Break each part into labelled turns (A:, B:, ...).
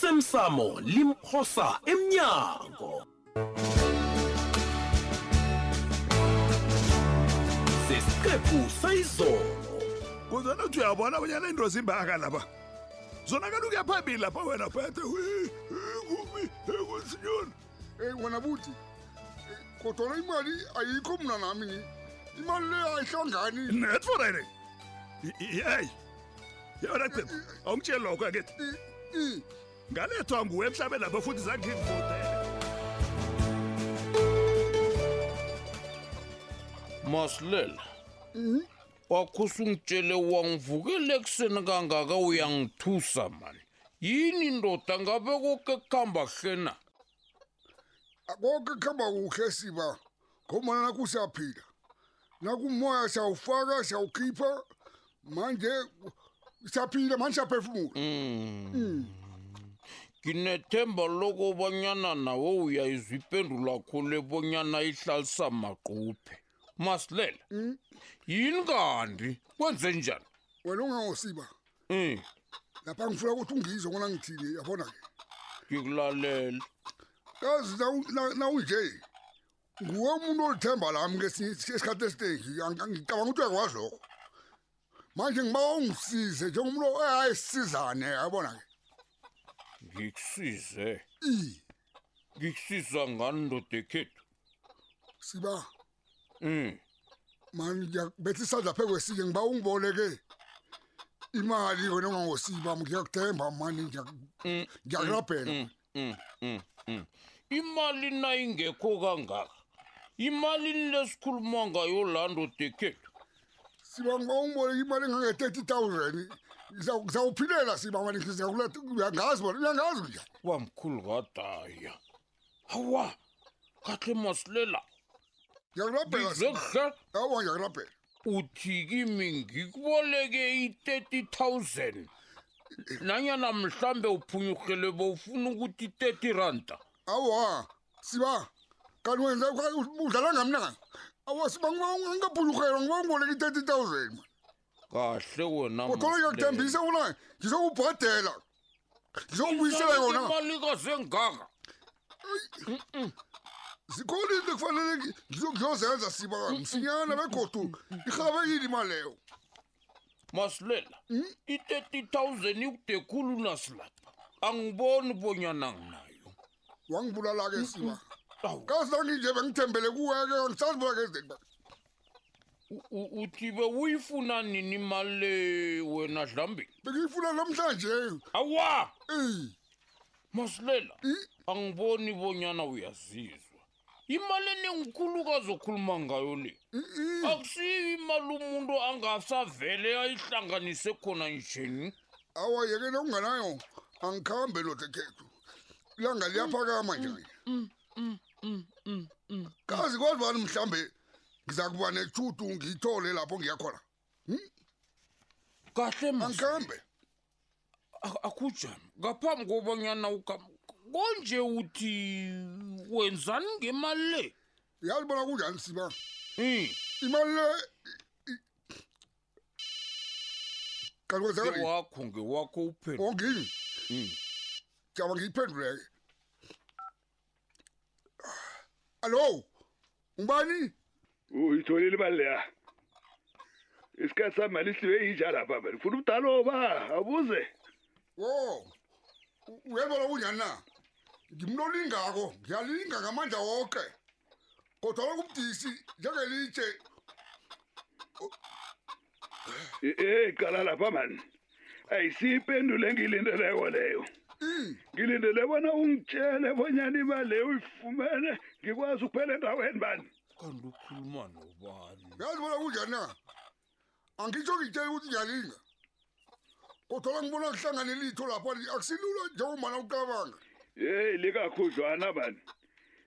A: osemsamo limphosa emnyango sesiqephu sayizolo
B: kunzana uthi uyabona bonyana into zimbaka lapha zona kanti ukuya phambili lapha wena phethe kumi kusinyoni
C: Eh wena buthi eh, kodwana imali ayikho mna nami ni imali leyo ayihlangani
B: netforene yeyi yona qembu awungitsheli lokho angithi
C: I- i-
B: ngalethwa nguwe emhlabeni lapha futhi zange ngivotele
D: masilela wakho usungitshele wangivukele ekuseni kangaka uyangithusa mani yini ndoda ngabe koke kuhamba hlena
C: konke kuhamba kuhle siba ngomana nakho usaphila nakumoya siyawufaka siyawukhipha manje siyaphila manje siyaphefumula Mm-hmm.
D: nginethemba lokobanyana nawe uyayizwa ipendula khule bonyana ihlalisa maquphe masilela yini kanti kwenze njani
C: wena ungangosiba
D: um
C: lapha ngifuna ukuthi ungizwe ngona ngithini yabona-ke
D: ngikulalele
C: kazi na- na- nawunje nguwe umuntu olithemba lami ngesinye isi- isikhathi esiningi Ang- ang- ngicabanga ukuthi uyakwazi lokho manje ngiba ungisize njengomuntu hayi sisizane yabona-ke
D: ngikusize
C: i
D: ngikusiza ngani ndoda ekhethu
C: siba
D: um
C: mani ngiyakubetha isandla phe kwesinye ngiba ungiboleke imali wena ongangosiba ngiyakuthemba mani
D: Mm.
C: ngiyak- ngiyakurabhela
E: Mm,
D: imali nayingekho kangaka imalini lesikhuluma ngayo laa ndoda ekhethu
C: siba ngiba ungiboleke imali engange-thirty thousand ngizawuphilela siba mani ngiyakuletauyangazi bona uyangazi nje
D: wamkhulu kadaya hawa kahle masilela
C: ngiyakurabhela Siba.
D: ngizekuhle
C: awa ngiyakurabhela
D: uthi kimi ngikuboleke i-thirty thousand nanyana mhlambe uphunyurhele bowufuna ukuthi i-thirty randa
C: awa siba kanti wenza udlala ngamnaka awa siba ngingabhulukhela ngiba ngiboleka i-thirty thousand man
D: kahle wena
C: kodwana ngiyakuthembisa bona ngizokubhadela ngizokubuyisela yona
D: kazengaka
C: zikhona into kufanele ngi- ngizo- ngiyozenza siba msinyana begodu irhabekile imali leyo
D: masilela
C: Hmm?
D: i-thirty thousand ikude khulu nasilapha angiboni bonyana nginayo
C: wangibulala-ke siba
D: Awu,
C: kazi nanginje bengithembele kuweke angisaziboleke ezidekuba
D: u- u- uthi bewuyifuna nini imali le wena dlambini
C: bengiyifuna namhlanje
D: awa
C: eyi
D: masilela angiboni bonyana uyazizwa imali enengikhulukazi okhuluma ngayo le akusiyo imali umuntu angasavele ayihlanganise khona njeni
C: awa yeke nokunganayo angikhambe lodekhethu ilanga liyaphakama njani
D: Mm,
C: kazi kwazi bani mhlambe ngiza kuba nethudu ngiyithole lapho ngiyakhona
D: kahle mas
C: angikhambe
D: akujani ngaphambi kobanyana ukam konje uthi wenzani ngemali le
C: yazi bona kunjani siba
D: um
C: imali le i- kanti kwenzekani
D: ngewakho ngewakho Hmm. uphendula
C: ongini jaba ngiyiphenduleke allo ngubani
B: uyitholile imali leya isikhathi sami malihliwe yinja lapha mani funa umdaloba abuze
C: wo u- uyabona kunjani na ngimlolingako ngiyalinga ngamandla wonke kodwa lokubudisi njengelitshe
B: eyi E, qala lapha mani ayisiyo impendulo engiyilindeleko leyo ngilindele bona ungitshele bonyana imali leyo uyifumene ngikwazi ukuphela endaweni bani
D: kanti ukhuluma nobani
C: uyazi bona kunjani na angitsho ngitshele ukuthi ngiyalinga kodwa la ngibona kuhlangane litho lapha li- akusilula njengomana ucabanga
B: yeyi likakhudlwana mani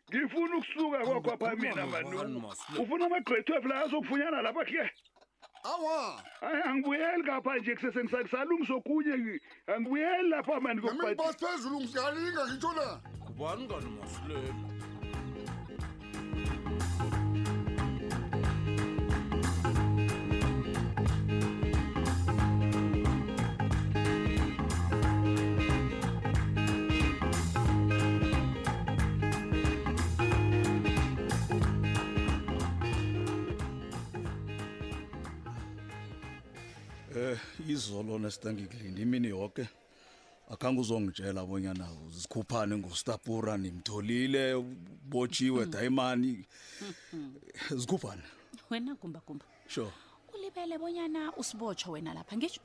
B: ngifuna ukusuka kwakho apha
D: Ukhuluma
B: mina
D: nobani,
B: mani
D: Masilela?
B: ufuna ama-grade twelve la azokufunyana lapha kuhle
C: awa
B: hayi angibuyeli ngapha nje kusese ngisalungisa okunye ngi- angibuyeli lapha
C: nami
B: mani kokubhadi
C: ngibasi phezulu ngiyalinga ngitsho na
D: kubani kani masilela
F: eh izolo nesitangikilini imini yonke akhange uzongitshela abonyana zikhuphane ngostapura nimtholile botshiwe dayimani zikhuphane
G: wena gumbagumba
F: sure
G: ulibele bonyana usibotshwa wena lapha ngisho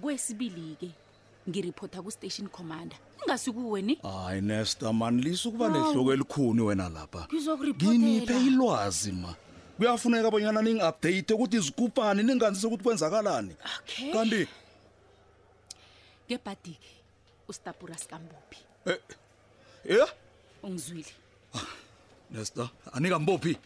G: kwesibili-ke ngiriphotha ku-station commander ingasikuweni
F: hayi nesta mani lisa ukuba nehloko elikhuni wena lapha
G: Ngizokuripotela.
F: Ah, nginiphe ilwazi ma kuyafuneka abonyana ningi-update ukuthi zikhuphane ninganzise ukuthi kwenzakalani
G: Okay.
F: kanti
G: ngebhadi-ke usitapura sikambophi
F: ye
G: ungizwile
F: nesta anikambophi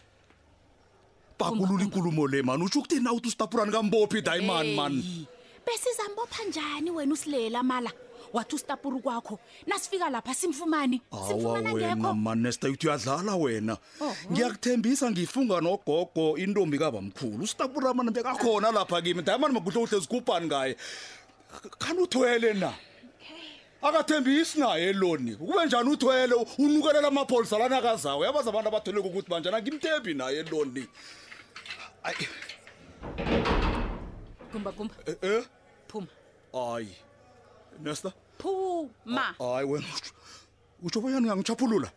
F: bakulula inkulumo le mani utsho ukuthini na uthi usitapurani kambophi dayimani mani
G: Eyi, besizambopha njani wena usilela mala wathi usitapura kwakho nasifika lapha simfumani
F: hawa
G: simfumana ngekho Oh,
F: wena manesta uthi uyadlala wena
G: Oho.
F: ngiyakuthembisa ngifunga nogogo intombi kabamkhulu usitapuramana bekakhona lapha kimi dayimani makuhle kuhle zikhuphani ngaye khani uthwele na akathembisi naye loni kube njani uthwele unukelela amapholisa lana akazawo yabaza abantu abatheleke ukuthi banjani angimthembi naye loni ayi
G: gumbagumba
F: eh, eh
G: phuma
F: hayi nesta
G: phuma
F: hayi wena utsho- utsho boyani uyangichaphulula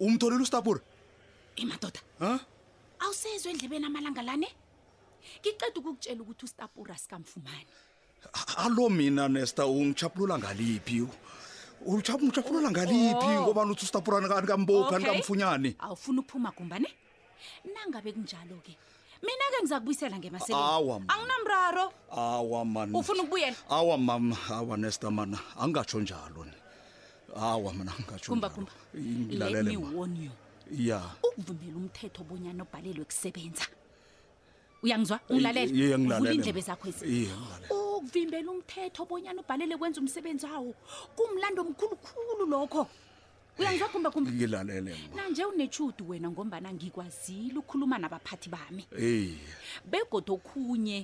F: umtholile usitapura
G: emadoda
F: ha
G: awusezwe endlebeni amalanga lane ngiceda ukukutshela ukuthi usitapura sikamfumani
F: alo mina nesta ungichaphulula ngaliphi ungichaphulula ngaliphi
G: Oh.
F: ngoba uthi usitapurani kambophi
G: Okay.
F: anikamfunyane
G: awufuna ukuphuma gumbane nangabe kunjalo-ke mina-ke ngiza kubuyisela
F: Awa,
G: ngemasebenzi
F: mama. Mm.
G: anginamraro
F: awa mani
G: ufuna ukubuyela
F: awa mama awa nesta mana angatsho njalo ni awa mina angatsho
G: gumba
F: njalo.
G: gumba let
F: ngilalele
G: me
F: ma
G: warn you
F: ya
G: ukuvumela umthetho obonyana obhalelwe kusebenza uyangizwa
F: Ye- ye,
G: ungilalele
F: ngilalela,
G: uvula
F: ma.
G: iindlebe zakho ezi
F: Ye, ngilalela.
G: ukuvimbela umthetho obonyana ubhalele kwenza umsebenzi wawo kumlando omkhulukhulu lokho uyangizwa gumba gumba
F: ngilalele ma
G: nanje unetshudu wena ngombana ngikwazile ukukhuluma nabaphathi bami
F: eyi
G: begoda okhunye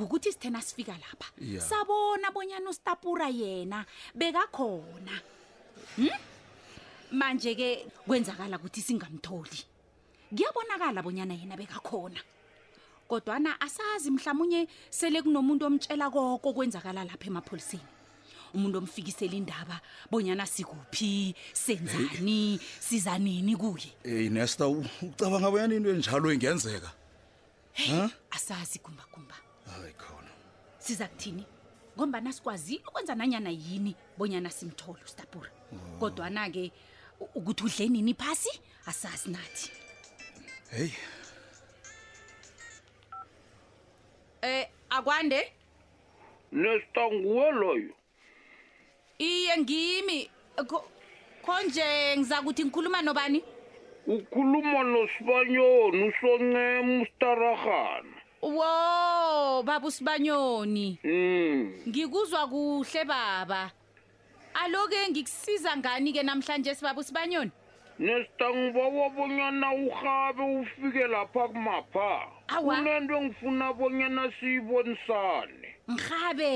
G: ngokuthi sithena sifika lapha
F: Ya.
G: sabona bonyana usitapura yena bekakhona hmm? manje-ke kwenzakala ukuthi singamtholi kuyabonakala bonyana yena bekakhona kodwana asazi mhlawumunye sele kunomuntu omtshela koko kwenzakala lapha emapholiseni umuntu omfikisela indaba bonyana sikuphi senzani sizanini kuye
F: eyi nesta u- ucabanga boyani into enjalo ingenzeka 어?
G: asazi gumbagumba
F: hayi khona
G: siza kuthini ngombana sikwazile ukwenza nanyana yini bonyana simthole usitapura kodwana-ke u- ukuthi udle nini phasi asazi nathi
F: heyi
G: um akwande
D: nesta nguwe loyo
G: iye ngimi Kho- khonje ngiza kuthi ngikhuluma nobani
D: ukhuluma nosibanyoni usoncema ustaragana
G: wo baba usibanyoni
D: um
G: ngikuzwa kuhle baba alo-ke ngikusiza ngani-ke namhlanje sibaba usibanyoni
D: nesta ngibawa bonyana urhabe ufike lapha kumapha
G: Awa.
D: kunento engifuna bonyana siyibonisane
G: ngihabe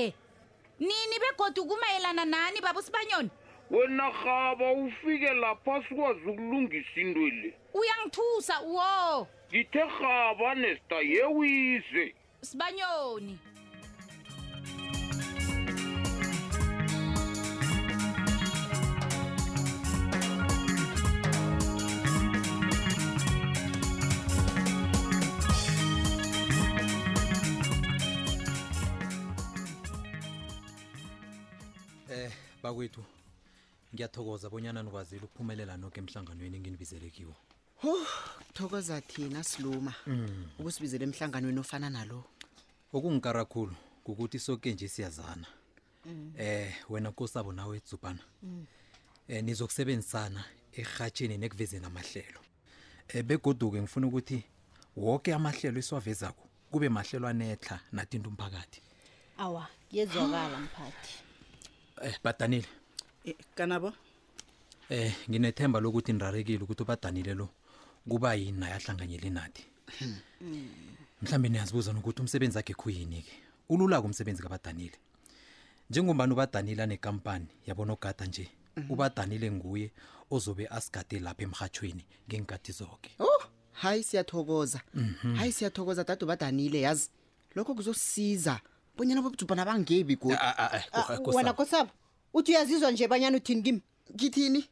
G: nini begoda ukumayelana nani baba usibanyoni
D: wena rhaba ufike lapha sikwazi ukulungisa into le
G: uyangithusa wo
D: ngithe rhaba nesta yewize
G: sibanyoni
H: Eh, bakwethu ngiyathokoza bonyana nikwazile ukuphumelela noke emhlanganweni enginibizelekiwo
E: hu thokoza thina siluma ukusibizela emhlanganweni ofana nalo
H: okungikara khulu kukuthi soke nje siyazana eh wena nkosabo nawe etsubana eh nizokusebenzisana erhatsheni nekuvezeni amahlelo eh begoduke ngifuna ukuthi wonke amahlelo esiwavezako kube mahlelo anetla nathinta umphakathi
I: awa kuyezwakala mphathi
H: eh badanile
E: kanabo
H: eh nginethemba lokuthi nirarekile ukuthi ubadanile lo kuba yini naye ahlanganyele nathi mhlawumbe niyazibuza nokuthi umsebenzi wakhe khuyini-ke ulula-ke umsebenzi kabadanile njengombani ubadanile anekampani yabonogada nje ubadanile nguye ozobe asigade lapha emrhatshweni ngenkathi zonke
E: oh hayi siyathokoza hayi siyathokoza dade ubadanile yazi lokho kuzosisiza bonyana bobujubhana bangebi Ah, godi
I: wena kosabo uthi uyazizwa nje banyana uthini kimi
E: ngithini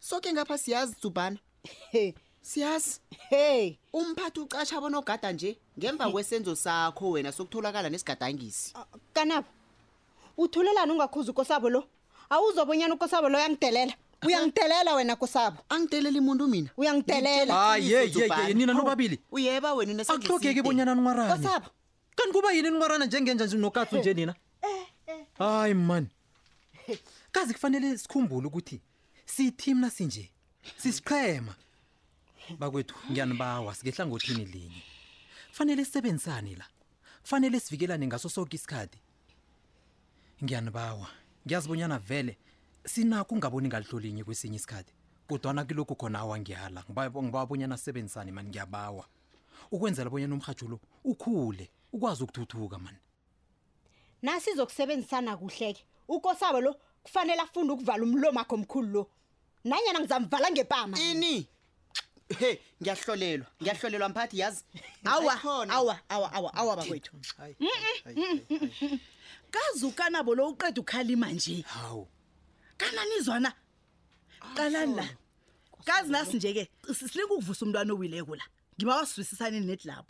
E: soke ngapha siyazi jubhana
I: he
E: siyazi
I: he
E: umphathi ucasha abonogada nje ngemva kwesenzo sakho wena sokutholakala nesigadangisi
I: Ah, kanabo uthulelani ungakhuzi ukosabo lo awuzobonyana ukosabo lo uyangidelela uyangidelela wena kosabo
E: angideleli umuntu mina
I: uyangidelela
H: Ah, ye, ye, ye,
E: Zubhana.
H: nina
E: Hawu,
H: nobabili.
E: uyeba wena
H: akuhlogeki bonyana ninwarane
I: kosabo
H: kanti kuba yini ninwarana njengenja nje nokatsu nje nina hayi mani kazi kufanele sikhumbule ukuthi siyithimna sinje sisiqhema bakwethu ngiyanibawa sikehlangothini linye kufanele sisebenzisane la kufanele sivikelane ngaso sonke isikhathi ngiyanibawa ngiyazibonyana vele sinakho ungaboni ngalihlolinye kwesinye isikhathi kodwana kilokhu khona awangihala ngibabonyana sisebenzisane mani ngiyabawa ukwenzela bonyana umrhatsho lo ukhule ukwazi ukuthuthuka mani
I: nasizokusebenzisana kuhleke ukosabo lo kufanele afunde ukuvala umlomo akho omkhulu lo nanyana ngizamvala ngepama
E: ini he ngiyahlolelwa ngiyahlolelwa mphathi yazi
J: awa
E: Ayikhona.
J: awa awa awa awa bakwethu kazi ukanabo lo uqeda ukhalima nje
H: hawu
J: kananizwana qalani la kazi nasi nje-ke silinga ukuvusa umntwana owileko la ngiba wasizwisisaneni nedilabo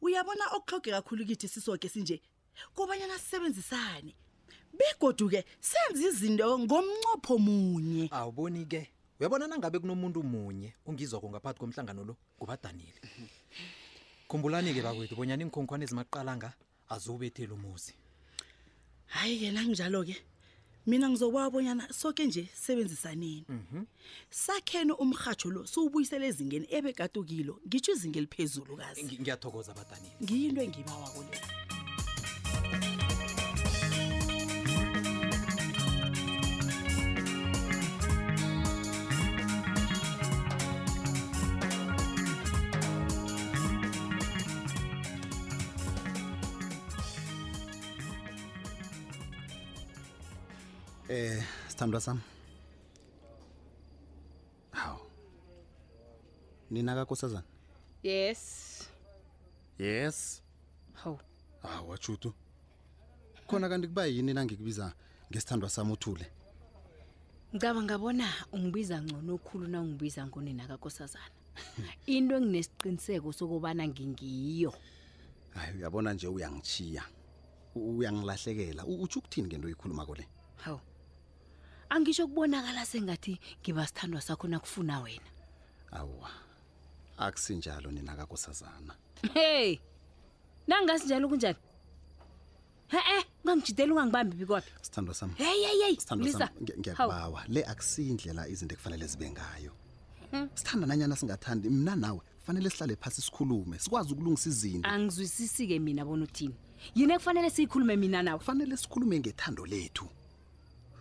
J: uyabona okuhloge kakhulu kithi sisoke sinje kobanyana sisebenzisane begodu-ke senze izinto ngomncopho munye
H: awuboni ke uyabona nangabe kunomuntu munye ongizwako ngaphakathi komhlangano lo ngubadanile khumbulani-ke bakwethu bonyana iinkhonkhwane ezimaqalanga aziwubetheli umuzi
J: hhayi-ke nanginjalo-ke mina ngizokwabonyana soke nje sisebenzisaneni sakhene umrhatsho lo siwubuyisele ezingeni ebekadukilo ngitsho izinga eliphezulu kazi
H: Ngi- ngiyathokoza badanile
J: ngiyinto engibawako leyo
E: eh sithandwa sami hawu nina kakosazana
K: yes
E: yes
K: hawu
E: hawa jutu Ah, khona kanti kuba yini nangikubiza ngesithandwa sami uthule
K: ngicabanga bona ungibiza ngcono okhulu na ungibiza ngonina kakosazana into enginesiqiniseko sokubana ngingiyo
E: hayi uyabona nje uyangichiya U- uyangilahlekela U- utsho ukuthini ngento oyikhulumako le
K: hawu angisho kubonakala sengathi ngiba sithandwa sakho nakufuna wena
E: awa akusinjalo nina kakosazana
K: hey nangasi njalo kunjani he-e ungangijideli ungangibambi bikwaphi
E: sithandwa sami
K: heyi heyi heyi
E: sithandwa sami ngiya- ngiyakubawa le akusiyindlela izinto ekufanele zibe ngayo sithanda nanyana singathandi mna nawe kufanele sihlale phasi sikhulume sikwazi ukulungisa izinto
K: angizwisisi-ke mina bona uthini yini ekufanele siyikhulume mina nawe
E: kufanele sikhulume ngethando lethu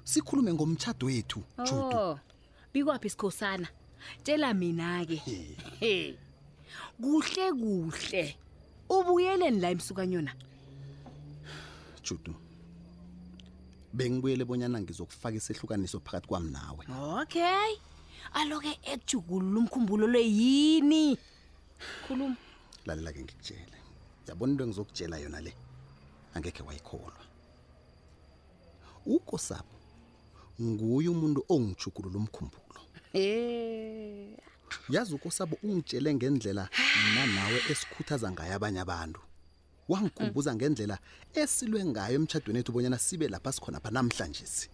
E: sikhulume ngomtshado wethu judu
K: Oh, bikwaphi sikhosana tshela mina-ke he kuhle kuhle ubuyeleni la emsukanyona
E: judu bengibuyele bonyana ngizokufaka isehlukaniso phakathi kwami nawe
K: okay aloke ekujugulula umkhumbulo lo yini khuluma
E: lalela-ke ngikutshele yabona into engizokutshela yona le angekhe wayikholwa ukosabo nguye umuntu ongijugulula umkhumbulo
K: Eh,
E: yazi ukosabo ungitshele ngendlela mna nawe esikhuthaza ngayo abanye abantu wangikhumbuza ngendlela esilwe ngayo emtshadweni ethu bonyana sibe lapha sikhona pha namhlanje si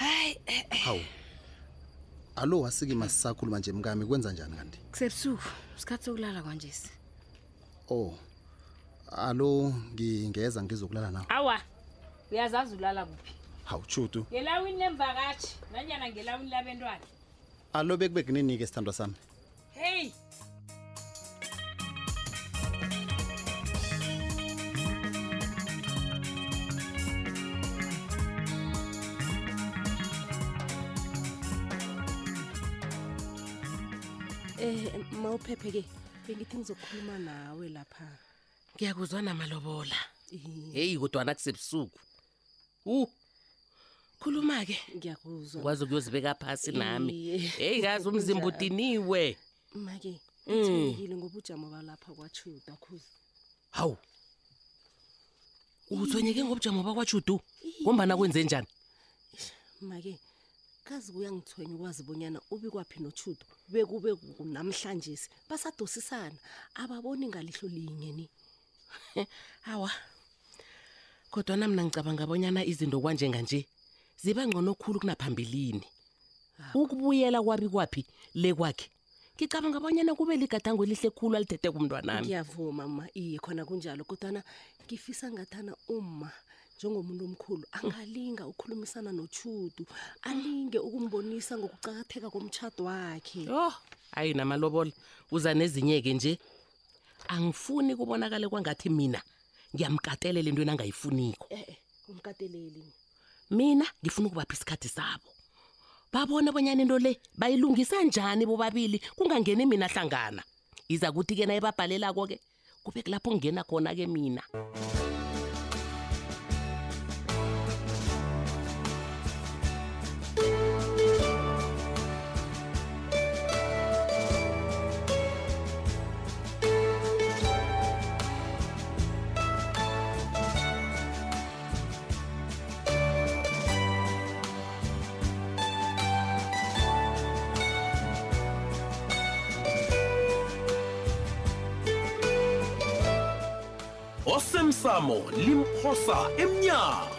K: eh,
E: hawu alo wasikima sisakhuluma nje mkami kwenza njani kanti
K: kusebusuku isikhathi sokulala kwanjesi
E: oh alo ngingeza ngizokulala nawe
K: awa uyazazi ulala kuphi
E: hawu chutu
K: ngelawini lemvakatshi nanyana ngelawini labentwana
E: alo bekube kunini-ke sithandwa sami
K: heyi
L: um mawuphephe-ke bengithi ngizokhuluma nawe lapha
M: ngiyakuzwa namalobola heyi kodwana kusebusuku u khuluma-ke
L: ngiyakuzwa
M: ukwazi ukuyozibeka phasi nami
L: Iye.
M: heyi kazi umzimba
L: Kunjalo.
M: udiniwe
L: make
M: Mm.
L: ngitshwenyekile ngoba ujamo balapha kwatshuda khuzi
M: hawu uthonyeke ngobujamo bakwajudu ngombana kwenze njani
L: make kazi kuyangithwenya ukwazi bonyana ubikwaphi notshudo bekube namhlanje basadosisana ababoni ngalihlo linye ni
M: hawa kodwana mna ngicabanga abonyana izinto kwanjenganje ziba ngcono khulu kunaphambilini ukubuyela kwabi kwaphi le kwakhe ngicabanga abonyana kube ligadango elihle khulu alithethe kumntwanami
L: ngiyavuma ma iye khona kunjalo kodwana ngifisa ngathana uma njengomuntu omkhulu angalinga ukukhulumisana notshudu alinge ukumbonisa ngokucakatheka komtshado wakhe
M: yo hayi namalobola uza nezinye-ke nje angifuni kubonakale kwangathi mina ngiyamkatelela entweni angayifuniko
L: e-e umkateleli
M: mina ngifuna ukubapha isikhathi sabo babone abonyana into le bayilungisa njani bobabili kungangeni mina hlangana iza kuthi-ke naye babhalelako-ke kube kulapho ngingena khona-ke mina
A: osemsamo limphosa emnyango